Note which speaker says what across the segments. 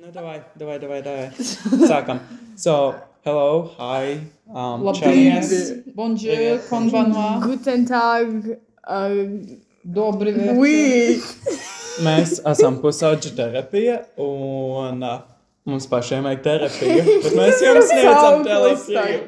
Speaker 1: No, давай, давай, давай, давай. Sākam. So, hello, hi, um, čamies.
Speaker 2: Labrīt, bonjour,
Speaker 1: Привет.
Speaker 2: konbanua,
Speaker 3: Guten Tag. Uh,
Speaker 2: dobri večer.
Speaker 3: oui.
Speaker 1: Mēs esam pusauģi terapija un uh, mums pašiem vajag terapiju, bet mēs jums sniedzam terapiju.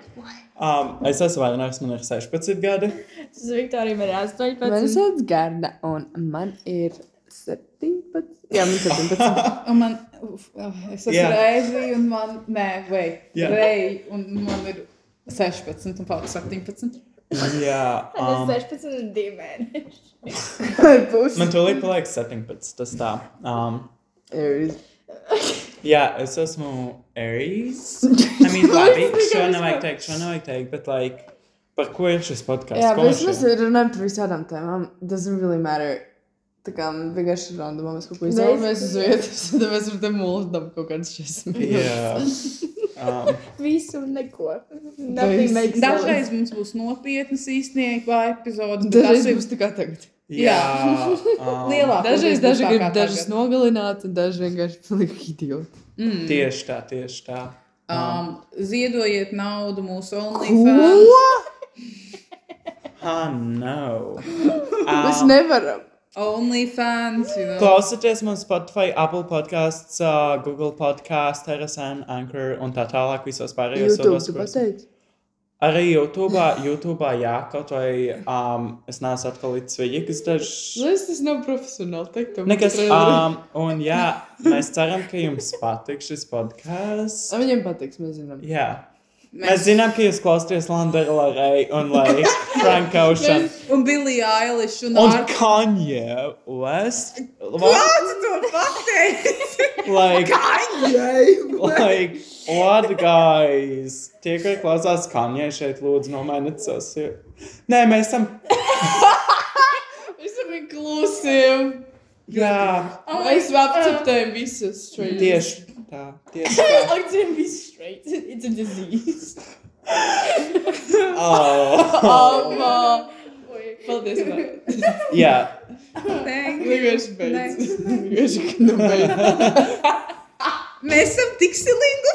Speaker 1: Um, es esmu Vainars, man ir 16 gadi.
Speaker 4: Tas Viktorija man ir
Speaker 3: Man
Speaker 4: 18.
Speaker 3: sauc Garda un man ir 17. Jā, man ir 17.
Speaker 2: Un man, uf, uh, es esmu
Speaker 1: Jā.
Speaker 2: yeah. reizi, un man, nē, vai,
Speaker 1: Jā.
Speaker 2: yeah. rei, un man ir 16, un paliek 17.
Speaker 1: Jā,
Speaker 4: Man
Speaker 1: um,
Speaker 4: ir 16 un 2 mēneši.
Speaker 3: Būs.
Speaker 1: man tūlīt paliek 17, tas tā. Um,
Speaker 3: Aries.
Speaker 1: jā, es esmu Aries. I mean, labi, šo nevajag teikt, šo nevajag teikt, bet, like, par ko ir šis podkāsts?
Speaker 3: Jā, bet mēs runājam par visādām tēmām. Doesn't really matter. Tā kā vienkārši randomā mēs kaut ko izdarāmies uz vietas, tad mēs ar te mūldam kaut kādas šķiesmas.
Speaker 1: Jā. Um,
Speaker 4: Visu un neko. Nothing makes sense.
Speaker 2: Dažreiz mums būs nopietnas īstenībā epizodes, bet
Speaker 3: Dažreiz
Speaker 2: tas ir
Speaker 3: būs tikai tagad.
Speaker 1: jā. um,
Speaker 2: lielākā.
Speaker 3: Dažreiz daži grib dažus nogalināt, un daži vienkārši paliek idioti.
Speaker 1: Tieši tā, tieši tā.
Speaker 2: Mm. Um, ziedojiet naudu mūsu OnlyFans.
Speaker 1: Ah, no.
Speaker 3: Mēs
Speaker 1: Um,
Speaker 3: nevaram.
Speaker 2: OnlyFans, you know.
Speaker 1: Klausieties mums Spotify, Apple podkāsts, uh, Google podkāsts, RSN, Anchor un tā tālāk visos pārējos
Speaker 3: YouTube,
Speaker 1: sodos,
Speaker 3: tu
Speaker 1: kuros-
Speaker 3: pateici.
Speaker 1: Arī YouTube, YouTube, jā, kaut vai um, es neesmu atkal līdz svejikas dažs.
Speaker 3: Liekas, Nu, tas nav profesionāli. Teikt, to
Speaker 1: Nekas.
Speaker 3: katrai reizei.
Speaker 1: Um, un jā, mēs ceram, ka jums patīk šis podkāsts.
Speaker 3: Viņiem patiks, mēs zinām.
Speaker 1: Jā. Mēs zinām, ka jūs klausāties Landera Lorei un Lai Frank Ocean.
Speaker 2: Un Billie Eilish un
Speaker 1: Un
Speaker 2: Ark.
Speaker 1: Kanye West. What?
Speaker 2: Tu to pateici!
Speaker 1: Like, like, what guys? Tie, kur klausās Kanye šeit, lūdzu, nomainiet savus. jo- Nē, mēs esam.
Speaker 3: Mēs esam inklusīvi.
Speaker 1: Jā,
Speaker 2: Oh
Speaker 3: Mēs apceptējam visus straight.
Speaker 1: tieši tā. Tieši tā.
Speaker 4: Like to be straight. It's a disease.
Speaker 1: Oh.
Speaker 3: Alma. Paldies.
Speaker 4: Paldies.
Speaker 3: Ivana.
Speaker 1: Jā,
Speaker 2: Thank you.
Speaker 3: Vienkārši beidz. Vienkārši, ka nu beidz.
Speaker 2: Mēs esam tik silīgi